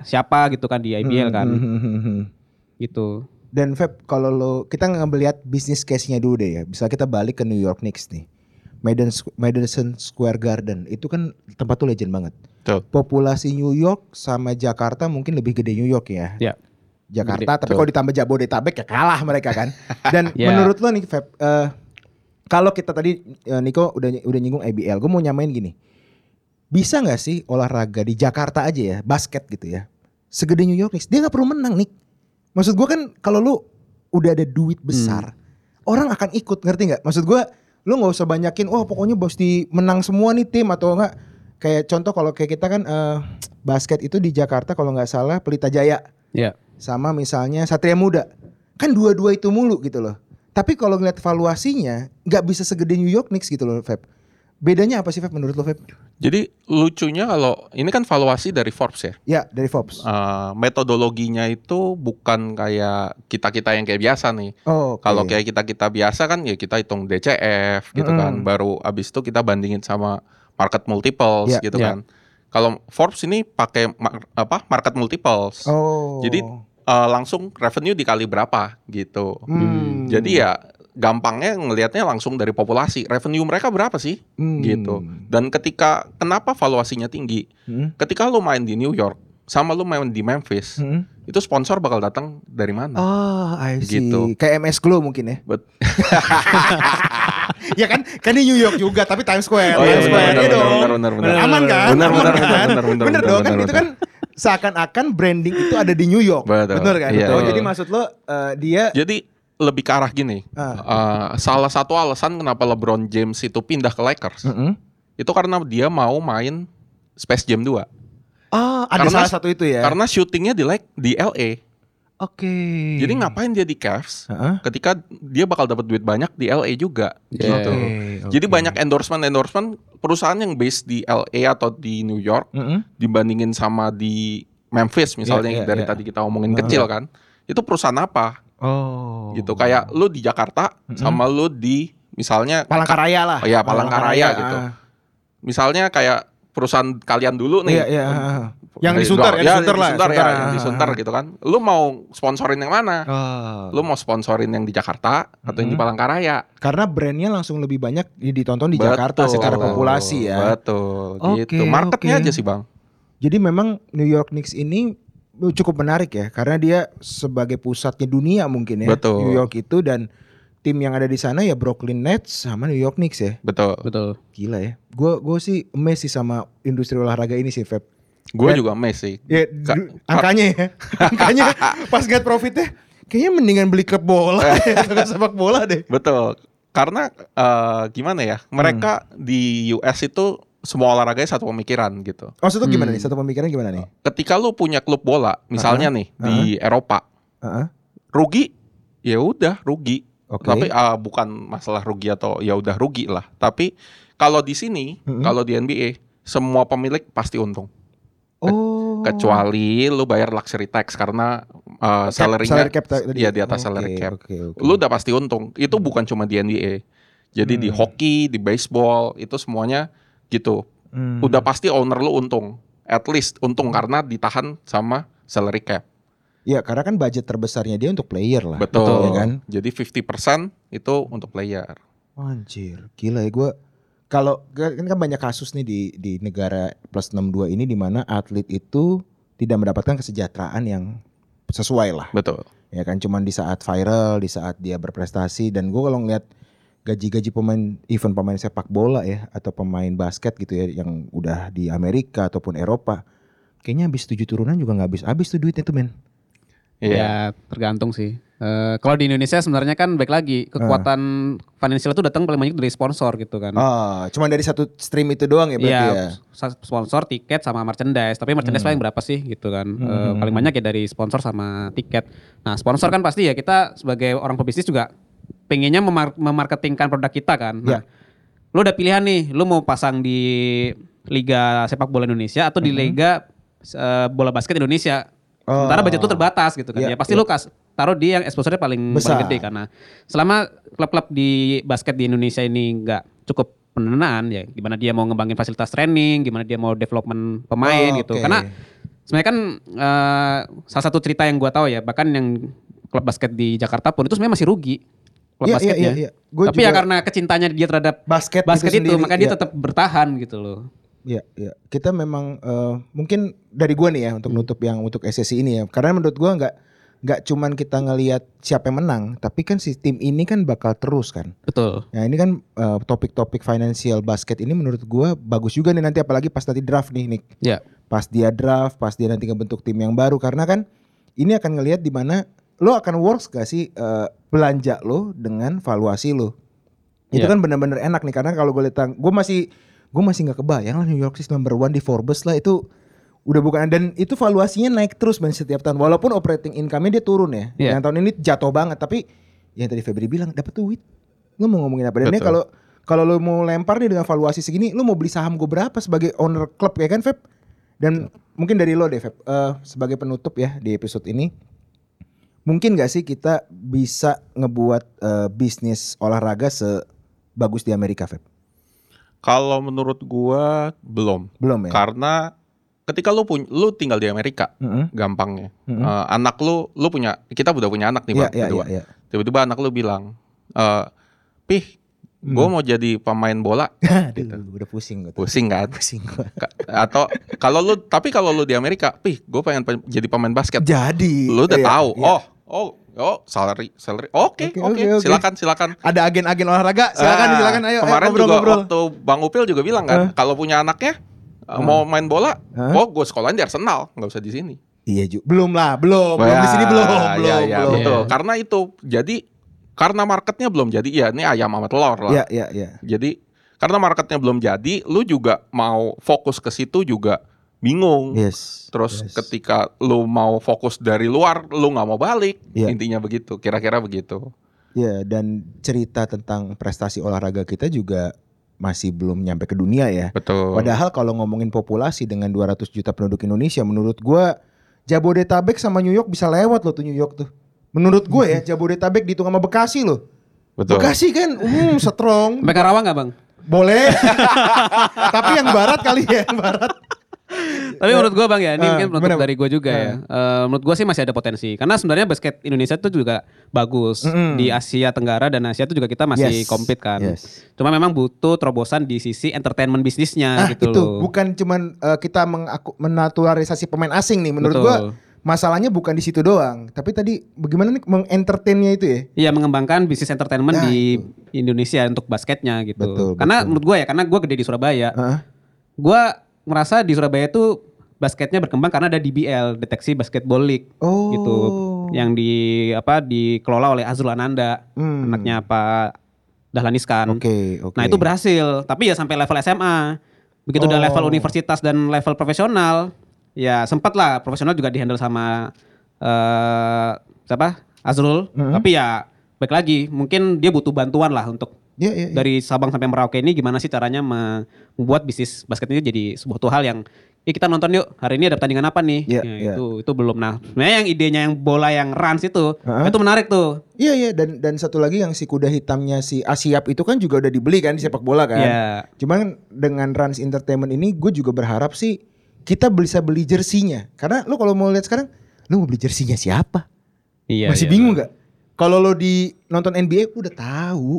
Speaker 2: siapa gitu kan di IBL kan
Speaker 1: Mm-hmm.
Speaker 2: gitu
Speaker 1: Dan Feb, kalau lo kita ngambil lihat bisnis case-nya dulu deh ya. Bisa kita balik ke New York Knicks nih. Madison, Squ- Madison Square Garden itu kan tempat tuh legend banget.
Speaker 4: Betul.
Speaker 1: Populasi New York sama Jakarta mungkin lebih gede New York ya.
Speaker 2: Ya.
Speaker 1: Jakarta,
Speaker 4: Gede,
Speaker 1: tapi kalau ditambah Jabodetabek ya kalah mereka kan. Dan
Speaker 2: Ya.
Speaker 1: menurut lo nih Feb, eh, kalau kita tadi eh, Niko udah udah nyinggung IBL, gue mau nyamain gini. Bisa nggak sih olahraga di Jakarta aja ya, basket gitu ya, segede New York Knicks, dia nggak perlu menang nih. Maksud gue kan kalau lu udah ada duit
Speaker 4: Hmm.
Speaker 1: besar, orang akan ikut ngerti nggak? Maksud gue lu nggak usah banyakin, wah pokoknya bos di menang semua nih tim atau enggak? Kayak contoh kalau kayak kita kan eh, basket itu di Jakarta kalau nggak salah Pelita Jaya
Speaker 2: ya
Speaker 4: Iya.
Speaker 1: sama misalnya Satria Muda. Kan dua-dua itu mulu gitu loh. Tapi kalau ngeliat valuasinya nggak bisa segede New York Knicks gitu loh, Feb. Bedanya apa sih Feb menurut lo, Feb?
Speaker 4: Jadi lucunya kalau ini kan valuasi dari Forbes ya.
Speaker 1: Ya, dari Forbes.
Speaker 4: Eh, metodologinya itu bukan kayak kita-kita yang kayak biasa nih.
Speaker 1: Oh, oke.
Speaker 4: Kalau kayak kita-kita biasa kan ya kita hitung DCF gitu kan.
Speaker 1: Mm-mm.
Speaker 4: Baru abis itu kita bandingin sama market multiples
Speaker 1: Ya,
Speaker 4: gitu
Speaker 2: ya.
Speaker 4: kan. Kalau Forbes ini pakai mar- apa market multiples.
Speaker 1: Oh.
Speaker 4: Jadi, Eh, langsung revenue dikali berapa gitu.
Speaker 1: Hmm.
Speaker 4: Jadi ya gampangnya ngelihatnya langsung dari populasi. Revenue mereka berapa sih?
Speaker 1: Hmm.
Speaker 4: gitu. Dan ketika kenapa valuasinya tinggi?
Speaker 1: Hmm.
Speaker 4: Ketika lu main di New York sama lu main di Memphis,
Speaker 1: Hmm.
Speaker 4: itu sponsor bakal datang dari mana?
Speaker 1: Oh, I see.
Speaker 4: Gitu.
Speaker 1: Kayak MS Glow mungkin ya.
Speaker 4: Bet-
Speaker 1: ya kan? Kan di New York juga, tapi Times Square.
Speaker 4: Oh, iya,
Speaker 1: Times
Speaker 4: iya,
Speaker 1: Square,
Speaker 4: benar,
Speaker 1: ya
Speaker 4: benar,
Speaker 1: dong.
Speaker 4: benar, benar, benar.
Speaker 1: Aman kan?
Speaker 4: Benar,
Speaker 1: Aman
Speaker 4: benar,
Speaker 1: kan?
Speaker 4: benar, benar, benar,
Speaker 1: Bener
Speaker 4: benar,
Speaker 1: dong kan
Speaker 4: benar,
Speaker 1: itu kan seakan-akan branding itu ada di New York.
Speaker 4: Betul.
Speaker 1: Bener kan?
Speaker 4: Iya,
Speaker 1: oh,
Speaker 4: iya.
Speaker 1: jadi maksud lo eh, dia
Speaker 4: Jadi lebih ke arah gini.
Speaker 1: Ah.
Speaker 4: Eh, salah satu alasan kenapa LeBron James itu pindah ke Lakers
Speaker 1: Mm-mm.
Speaker 4: itu karena dia mau main Space Jam 2.
Speaker 1: Ah, ada
Speaker 4: Karena-
Speaker 1: salah satu itu ya.
Speaker 4: Karena syutingnya di Lake, di LA.
Speaker 1: Oke.
Speaker 4: Jadi
Speaker 1: Hmm.
Speaker 4: ngapain dia di Cavs?
Speaker 1: Heeh.
Speaker 4: Ketika dia bakal dapat duit banyak di LA juga.
Speaker 2: Iya.
Speaker 4: Gitu. Jadi banyak endorsement-endorsement perusahaan yang base di LA atau di New York
Speaker 1: Mm-mm.
Speaker 4: dibandingin sama di Memphis misalnya
Speaker 1: Iya,
Speaker 4: yang
Speaker 1: iya,
Speaker 4: dari
Speaker 1: iya.
Speaker 4: tadi kita omongin
Speaker 1: Heeh.
Speaker 4: kecil kan. Itu perusahaan apa?
Speaker 1: Oh.
Speaker 4: Gitu. Kayak lu di Jakarta
Speaker 1: Mm-mm.
Speaker 4: sama lu di misalnya
Speaker 1: Palangkaraya lah.
Speaker 4: Oh, iya, Palangkaraya gitu.
Speaker 1: ah.
Speaker 4: misalnya kayak perusahaan kalian dulu nih. kan.
Speaker 1: Iya, iya. ah. Yang di Sunter, yang
Speaker 4: ya,
Speaker 1: di Sunter lah,
Speaker 4: Sunter, ya,
Speaker 1: Sunter,
Speaker 4: yang di
Speaker 1: ah,
Speaker 4: Sunter
Speaker 1: ah.
Speaker 4: gitu kan. Lu mau sponsorin yang mana?
Speaker 1: Ah.
Speaker 4: Lu mau sponsorin yang di Jakarta atau yang di
Speaker 1: Mm-mm.
Speaker 4: Palangkaraya?
Speaker 1: Karena brandnya langsung lebih banyak ditonton di Jakarta
Speaker 4: Betul.
Speaker 1: secara populasi ya.
Speaker 4: Betul,
Speaker 1: Oke,
Speaker 4: gitu. Marketnya
Speaker 1: oke.
Speaker 4: aja sih, Bang.
Speaker 1: Jadi memang New York Knicks ini cukup menarik ya karena dia sebagai pusatnya dunia mungkin ya.
Speaker 4: Betul.
Speaker 1: New York itu dan tim yang ada di sana ya Brooklyn Nets sama New York Knicks ya.
Speaker 4: Betul.
Speaker 2: betul
Speaker 1: Gila ya. Gue gue sih amazed sih sama industri olahraga ini sih Feb.
Speaker 4: Gue
Speaker 1: Dan-
Speaker 4: juga amazed sih.
Speaker 1: Ya,
Speaker 4: Ka-
Speaker 1: du- angkanya ya. angkanya pas ngeliat profitnya kayaknya mendingan beli klub bola
Speaker 4: Eh.
Speaker 1: atau sepak bola deh.
Speaker 4: Betul. Karena eh, gimana ya? Mereka
Speaker 1: Hmm.
Speaker 4: di US itu semua olahraganya satu pemikiran gitu.
Speaker 1: Maksud tuh gimana nih?
Speaker 2: Hmm.
Speaker 1: Satu pemikiran gimana nih?
Speaker 4: Ketika lu punya klub bola, misalnya
Speaker 1: Uh-huh.
Speaker 4: nih di Eropa,
Speaker 1: Heeh.
Speaker 4: rugi ya udah rugi.
Speaker 1: Uh-huh. Oke.
Speaker 4: Tapi eh, bukan masalah rugi atau ya udah rugi lah. Tapi kalau di sini,
Speaker 1: Mm-mm.
Speaker 4: kalau di NBA, semua pemilik pasti untung.
Speaker 1: oh.
Speaker 4: Kecuali lu bayar luxury tax karena eh, salary-nya
Speaker 1: salary cap tadi. Oh,
Speaker 4: iya di
Speaker 1: Oke,
Speaker 4: atas salary cap.
Speaker 1: oke, oke. Hmm.
Speaker 4: Lu udah pasti untung. Itu bukan cuma di NBA. Jadi di hoki, di baseball, itu semuanya gitu.
Speaker 1: Hmm.
Speaker 4: Udah pasti owner lu untung. At least untung karena ditahan sama salary cap.
Speaker 1: Ya karena kan budget terbesarnya dia untuk player lah.
Speaker 4: Betul.
Speaker 1: Ya kan? Oh,
Speaker 4: Jadi 50% itu untuk player.
Speaker 1: Anjir, gila ya gue. Kalau kan kan banyak kasus nih di di negara plus 62 ini di mana atlet itu tidak mendapatkan kesejahteraan yang sesuai lah.
Speaker 4: Betul.
Speaker 1: Ya kan cuman di saat viral, di saat dia berprestasi dan gue kalau ngeliat gaji-gaji pemain event pemain sepak bola ya atau pemain basket gitu ya yang udah di Amerika ataupun Eropa kayaknya habis tujuh turunan juga nggak habis habis tuh duitnya tuh men
Speaker 4: Iya.
Speaker 2: Ya tergantung sih. Eh, kalau di Indonesia sebenarnya kan baik lagi kekuatan financial itu datang paling banyak dari sponsor gitu kan.
Speaker 1: ah cuman dari satu stream itu doang ya berarti ya Hmm.
Speaker 2: Iya, sa- sponsor, tiket sama merchandise. Tapi merchandise paling berapa sih gitu kan? Eh, paling banyak ya dari sponsor sama tiket. Nah, sponsor kan pasti ya kita sebagai orang pebisnis juga pengennya memar- memarketingkan produk kita kan.
Speaker 1: Ya.
Speaker 2: Nah, lu udah pilihan nih, lu mau pasang di Liga Sepak Bola Indonesia atau di Liga eh, Bola Basket Indonesia.
Speaker 1: Hmm. Oh.
Speaker 2: Sementara budget lu terbatas gitu kan.
Speaker 1: Iya,
Speaker 2: ya pasti lu kas taruh di yang exposure-nya paling
Speaker 1: Besar.
Speaker 2: paling gede karena selama klub-klub di basket di Indonesia ini nggak cukup pendanaan ya gimana dia mau ngembangin fasilitas training, gimana dia mau development pemain
Speaker 1: Oh,
Speaker 2: gitu.
Speaker 1: oke.
Speaker 2: Karena sebenarnya kan eh, salah satu cerita yang gua tahu ya bahkan yang klub basket di Jakarta pun itu sebenarnya masih rugi
Speaker 1: Iya,
Speaker 2: klub
Speaker 1: iya,
Speaker 2: basketnya.
Speaker 1: iya, iya. Gua
Speaker 2: Tapi ya
Speaker 1: juga-
Speaker 2: karena kecintanya dia terhadap
Speaker 1: basket,
Speaker 2: basket itu,
Speaker 1: sendiri,
Speaker 2: makanya dia
Speaker 1: iya.
Speaker 2: tetap bertahan gitu loh.
Speaker 1: Iya, iya. Kita memang eh, mungkin dari gua nih ya untuk nutup yang untuk SSI ini ya. Karena menurut gua nggak nggak cuman kita ngelihat siapa yang menang, tapi kan si tim ini kan bakal terus kan.
Speaker 2: Betul.
Speaker 1: Nah ini kan eh, topik-topik financial basket ini menurut gua bagus juga nih nanti apalagi pas nanti draft nih Nick.
Speaker 2: Ya.
Speaker 1: Pas dia draft, pas dia nanti ngebentuk tim yang baru karena kan ini akan ngelihat di mana lo akan works gak sih eh, belanja lo dengan valuasi lo. Itu
Speaker 2: Iya.
Speaker 1: kan benar-benar enak nih karena kalau gue lihat tang- gua masih gue masih nggak kebayang lah New York City number one di Forbes lah itu udah bukan dan itu valuasinya naik terus men setiap tahun walaupun operating income-nya dia turun ya.
Speaker 2: Iya.
Speaker 1: Yang tahun ini jatuh banget tapi yang tadi Febri bilang dapat duit. Lu mau ngomongin apa? Dan ini
Speaker 4: Betul.
Speaker 1: kalau kalau lu mau lempar nih dengan valuasi segini, lu mau beli saham gue berapa sebagai owner klub ya kan, Feb? Dan mungkin dari lo deh, Feb, eh, sebagai penutup ya di episode ini, mungkin gak sih kita bisa ngebuat eh, bisnis olahraga sebagus di Amerika, Feb?
Speaker 4: Kalau menurut gua belum.
Speaker 1: Belum ya?
Speaker 4: Karena ketika lu punya lu tinggal di Amerika
Speaker 1: Mm-mm.
Speaker 4: gampangnya.
Speaker 1: Mm-mm.
Speaker 4: Eh, anak lu lu punya kita udah punya anak nih
Speaker 1: Iya,
Speaker 4: Bang,
Speaker 1: iya,
Speaker 4: berdua.
Speaker 1: iya, iya.
Speaker 4: Tiba-tiba anak lu bilang, eh "Pih, gua
Speaker 1: Hmm.
Speaker 4: mau jadi pemain bola."
Speaker 1: Aduh, Gitu. udah pusing gue.
Speaker 4: Pusing kan?
Speaker 1: Pusing gue.
Speaker 4: Ka- atau kalau lu tapi kalau lu di Amerika, "Pih, gua pengen pe- jadi pemain basket."
Speaker 1: Jadi,
Speaker 4: Lu udah
Speaker 1: iya,
Speaker 4: tahu.
Speaker 1: iya.
Speaker 4: Oh, oh, oh, salary, salary. Oke,
Speaker 1: Oke,
Speaker 4: oke.
Speaker 1: oke, oke.
Speaker 4: Silakan, silakan.
Speaker 1: Ada agen-agen olahraga, silakan,
Speaker 4: Ah,
Speaker 1: silakan, ayo,
Speaker 4: Kemarin
Speaker 1: ayo ngobrol,
Speaker 4: juga oh,
Speaker 1: ngobrol.
Speaker 4: waktu Bang Upil juga bilang kan, kalau punya anaknya eh, mau main bola,
Speaker 1: Ah.
Speaker 4: oh gue sekolahan di Arsenal, nggak usah di sini.
Speaker 1: Iya, Ju. belum lah, belum, Oh, belum di sini
Speaker 4: Ya,
Speaker 1: belum,
Speaker 4: ya,
Speaker 1: belum,
Speaker 4: ya,
Speaker 1: belum.
Speaker 4: betul. Karena itu, jadi karena marketnya belum jadi, ya ini ayam sama telur lah.
Speaker 1: Iya, iya, iya.
Speaker 4: Jadi karena marketnya belum jadi, lu juga mau fokus ke situ juga bingung.
Speaker 1: Yes.
Speaker 4: Terus
Speaker 1: yes.
Speaker 4: ketika lu mau fokus dari luar, lu nggak mau balik.
Speaker 1: Iya.
Speaker 4: Intinya begitu, kira-kira begitu.
Speaker 1: Ya, dan cerita tentang prestasi olahraga kita juga masih belum nyampe ke dunia ya.
Speaker 4: Betul.
Speaker 1: Padahal kalau ngomongin populasi dengan 200 juta penduduk Indonesia, menurut gua Jabodetabek sama New York bisa lewat loh tuh New York tuh. Menurut gue ya, Jabodetabek dihitung sama Bekasi loh.
Speaker 4: Mm-hmm. Betul.
Speaker 1: Bekasi kan, hmm, strong.
Speaker 2: Sampai Karawang nggak bang?
Speaker 1: Boleh. Tapi yang barat kali ya, yang barat.
Speaker 2: Tapi menurut gua bang ya, ini
Speaker 1: Ah,
Speaker 2: mungkin penutup
Speaker 1: gimana, Bang? Ah.
Speaker 2: dari gua juga ya. Eh, menurut gua sih masih ada potensi. Karena sebenarnya basket Indonesia itu juga bagus
Speaker 1: Mm-mm.
Speaker 2: di Asia Tenggara dan Asia itu juga kita masih
Speaker 1: Yes,
Speaker 2: compete kan.
Speaker 1: yes.
Speaker 2: Cuma memang butuh terobosan di sisi entertainment bisnisnya
Speaker 1: Nah,
Speaker 2: gitu
Speaker 1: itu
Speaker 2: loh.
Speaker 1: bukan cuman eh, kita mengaku, menaturalisasi pemain asing nih menurut
Speaker 2: Betul.
Speaker 1: gua masalahnya bukan di situ doang tapi tadi bagaimana nih mengentertainnya itu ya
Speaker 2: Iya mengembangkan bisnis entertainment
Speaker 1: Nah,
Speaker 2: di Indonesia untuk basketnya gitu.
Speaker 1: Betul, Ah.
Speaker 2: karena
Speaker 1: betul.
Speaker 2: menurut gua ya, karena gua gede di Surabaya.
Speaker 1: Heeh.
Speaker 2: Gua merasa di Surabaya itu basketnya berkembang karena ada DBL, deteksi basketball league.
Speaker 1: oh
Speaker 2: gitu yang di apa dikelola oleh Azrul Ananda
Speaker 1: Hmm.
Speaker 2: anaknya Pak Dahlan
Speaker 1: oke
Speaker 2: Oke.
Speaker 1: oke
Speaker 2: nah itu berhasil tapi ya sampai level SMA begitu udah
Speaker 1: Oh.
Speaker 2: level universitas dan level profesional ya sempat lah profesional juga dihandle sama eh siapa Azrul
Speaker 1: Mhm.
Speaker 2: tapi ya baik lagi mungkin dia butuh bantuan lah untuk
Speaker 1: Iya, iya, iya.
Speaker 2: dari Sabang sampai Merauke ini gimana sih caranya me- membuat bisnis basket ini jadi sebuah hal yang "Ih, kita nonton yuk. Hari ini ada pertandingan apa nih?"
Speaker 1: Iya,
Speaker 2: Ya,
Speaker 1: iya.
Speaker 2: Itu itu belum nah. Sebenarnya yang idenya yang bola yang runs itu,
Speaker 1: Heeh.
Speaker 2: itu menarik tuh.
Speaker 1: Iya iya dan dan satu lagi yang si kuda hitamnya si Asiap itu kan juga udah dibeli kan di sepak bola kan.
Speaker 2: Iya.
Speaker 1: Cuman dengan Rans Entertainment ini gue juga berharap sih kita bisa beli jersinya. Karena lu kalau mau lihat sekarang lu mau beli jersinya siapa?
Speaker 2: Iya.
Speaker 1: Masih
Speaker 2: iya.
Speaker 1: bingung nggak? Kalau lo di nonton NBA lu udah tahu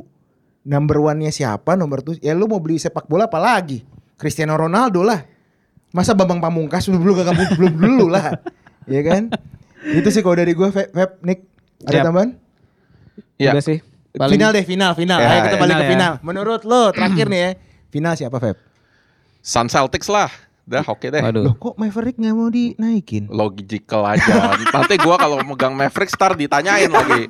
Speaker 1: number one-nya siapa, nomor tuh ya lu mau beli sepak bola apa lagi? Cristiano Ronaldo lah. Masa Bambang Pamungkas belum belum gak belum dulu lah. Iya kan? Itu sih kalau dari gue Feb, Feb, Nick ada
Speaker 2: Siap.
Speaker 1: tambahan?
Speaker 4: Iya.
Speaker 2: Udah sih. Paling-
Speaker 1: Final deh, final, final.
Speaker 4: Ya,
Speaker 1: Ayo kita
Speaker 4: ya.
Speaker 1: balik ke
Speaker 2: Final ya.
Speaker 1: final. Menurut lo terakhir nih ya, final siapa Feb?
Speaker 4: Sun Celtics lah. Dah oke deh.
Speaker 2: Waduh.
Speaker 1: Loh kok Maverick nggak mau dinaikin?
Speaker 4: Logical aja. Nanti gua kalau megang Mavericks star ditanyain lagi.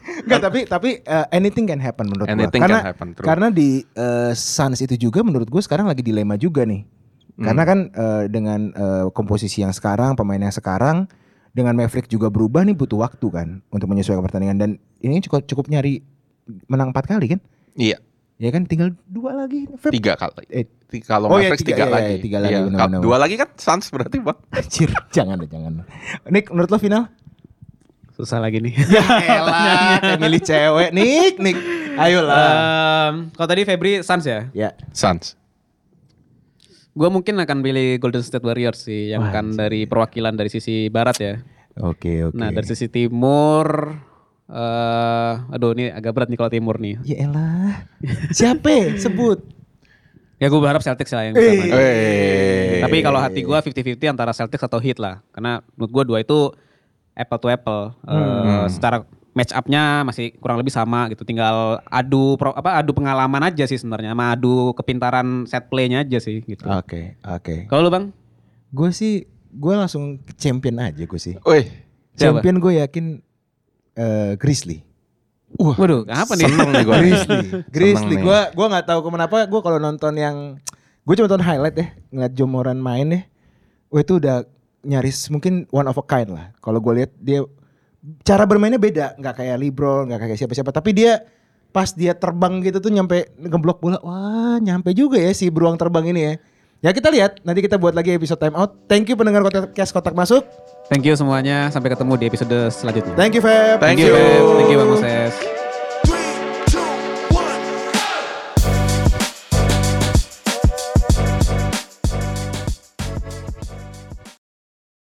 Speaker 1: Enggak, tapi tapi uh, anything can happen menurut gue.
Speaker 4: Anything
Speaker 1: Karena
Speaker 4: can happen, true.
Speaker 1: karena di uh, Suns itu juga menurut gue sekarang lagi dilema juga nih.
Speaker 4: Hmm.
Speaker 1: Karena kan uh, dengan uh, komposisi yang sekarang, pemain yang sekarang dengan Maverick juga berubah nih butuh waktu kan untuk menyesuaikan pertandingan dan ini cukup cukup nyari menang 4 kali kan?
Speaker 4: Iya,
Speaker 1: Ya kan tinggal dua lagi. Feb.
Speaker 4: tiga kali.
Speaker 1: Eh,
Speaker 4: Tiga- Kalau
Speaker 1: Oh, iya,
Speaker 4: Mavericks
Speaker 1: tiga,
Speaker 4: tiga,
Speaker 1: iya,
Speaker 4: lagi.
Speaker 1: iya, tiga lagi,
Speaker 4: Iya,
Speaker 1: benar,
Speaker 4: kal-
Speaker 1: benar,
Speaker 4: Dua lagi kan Suns berarti bang.
Speaker 1: Anjir, jangan deh, jangan. Nick, menurut lo final?
Speaker 2: Susah lagi nih.
Speaker 1: Ya elah, kayak milih cewek. Nik, Nik.
Speaker 2: Eh.
Speaker 1: Ayolah.
Speaker 2: Em, Ehm, kalau tadi Febri Suns ya?
Speaker 1: ya.
Speaker 4: Suns.
Speaker 2: Gue mungkin akan pilih Golden State Warriors sih yang
Speaker 1: Wah,
Speaker 2: akan dari perwakilan dari sisi barat ya.
Speaker 1: Oke, oke.
Speaker 2: Nah dari sisi timur, eh aduh ini agak berat nih kalau timur nih.
Speaker 1: Ya elah. Siapa? Sebut.
Speaker 2: Ya gue berharap Celtics lah yang bisa
Speaker 1: Eh.
Speaker 2: main.
Speaker 4: Eh,
Speaker 2: Tapi kalau hati gue 50-50 antara Celtics atau Heat lah. Karena menurut gue dua itu apple to apple. Eh, secara match up-nya masih kurang lebih sama gitu. Tinggal adu pro, apa adu pengalaman aja sih sebenarnya. Sama adu kepintaran set play-nya aja sih gitu.
Speaker 1: Oke, oke.
Speaker 2: Kalau lu bang?
Speaker 1: Gue sih gue langsung ke champion aja gue sih.
Speaker 4: Wih,
Speaker 2: Siapa?
Speaker 1: Champion gue yakin eh, Grizzly.
Speaker 2: Wah, Waduh, apa nih?
Speaker 4: seneng nih gua.
Speaker 1: Grizzly. Grizzly.
Speaker 4: nih.
Speaker 1: Gue gua nggak tahu kenapa gue kalau nonton yang gue cuma nonton highlight ya ngeliat Jomoran main ya. Wah itu udah nyaris mungkin one of a kind lah. Kalau gue lihat dia cara bermainnya beda, nggak kayak Libro, nggak kayak siapa-siapa. Tapi dia pas dia terbang gitu tuh nyampe ngeblok bola, wah nyampe juga ya si beruang terbang ini ya. Ya kita lihat, nanti kita buat lagi episode time out. Thank you pendengar podcast kotak masuk.
Speaker 2: Thank you semuanya. Sampai ketemu di episode selanjutnya.
Speaker 1: Thank you Feb.
Speaker 4: Thank you.
Speaker 2: Feb. Thank you Bang Moses.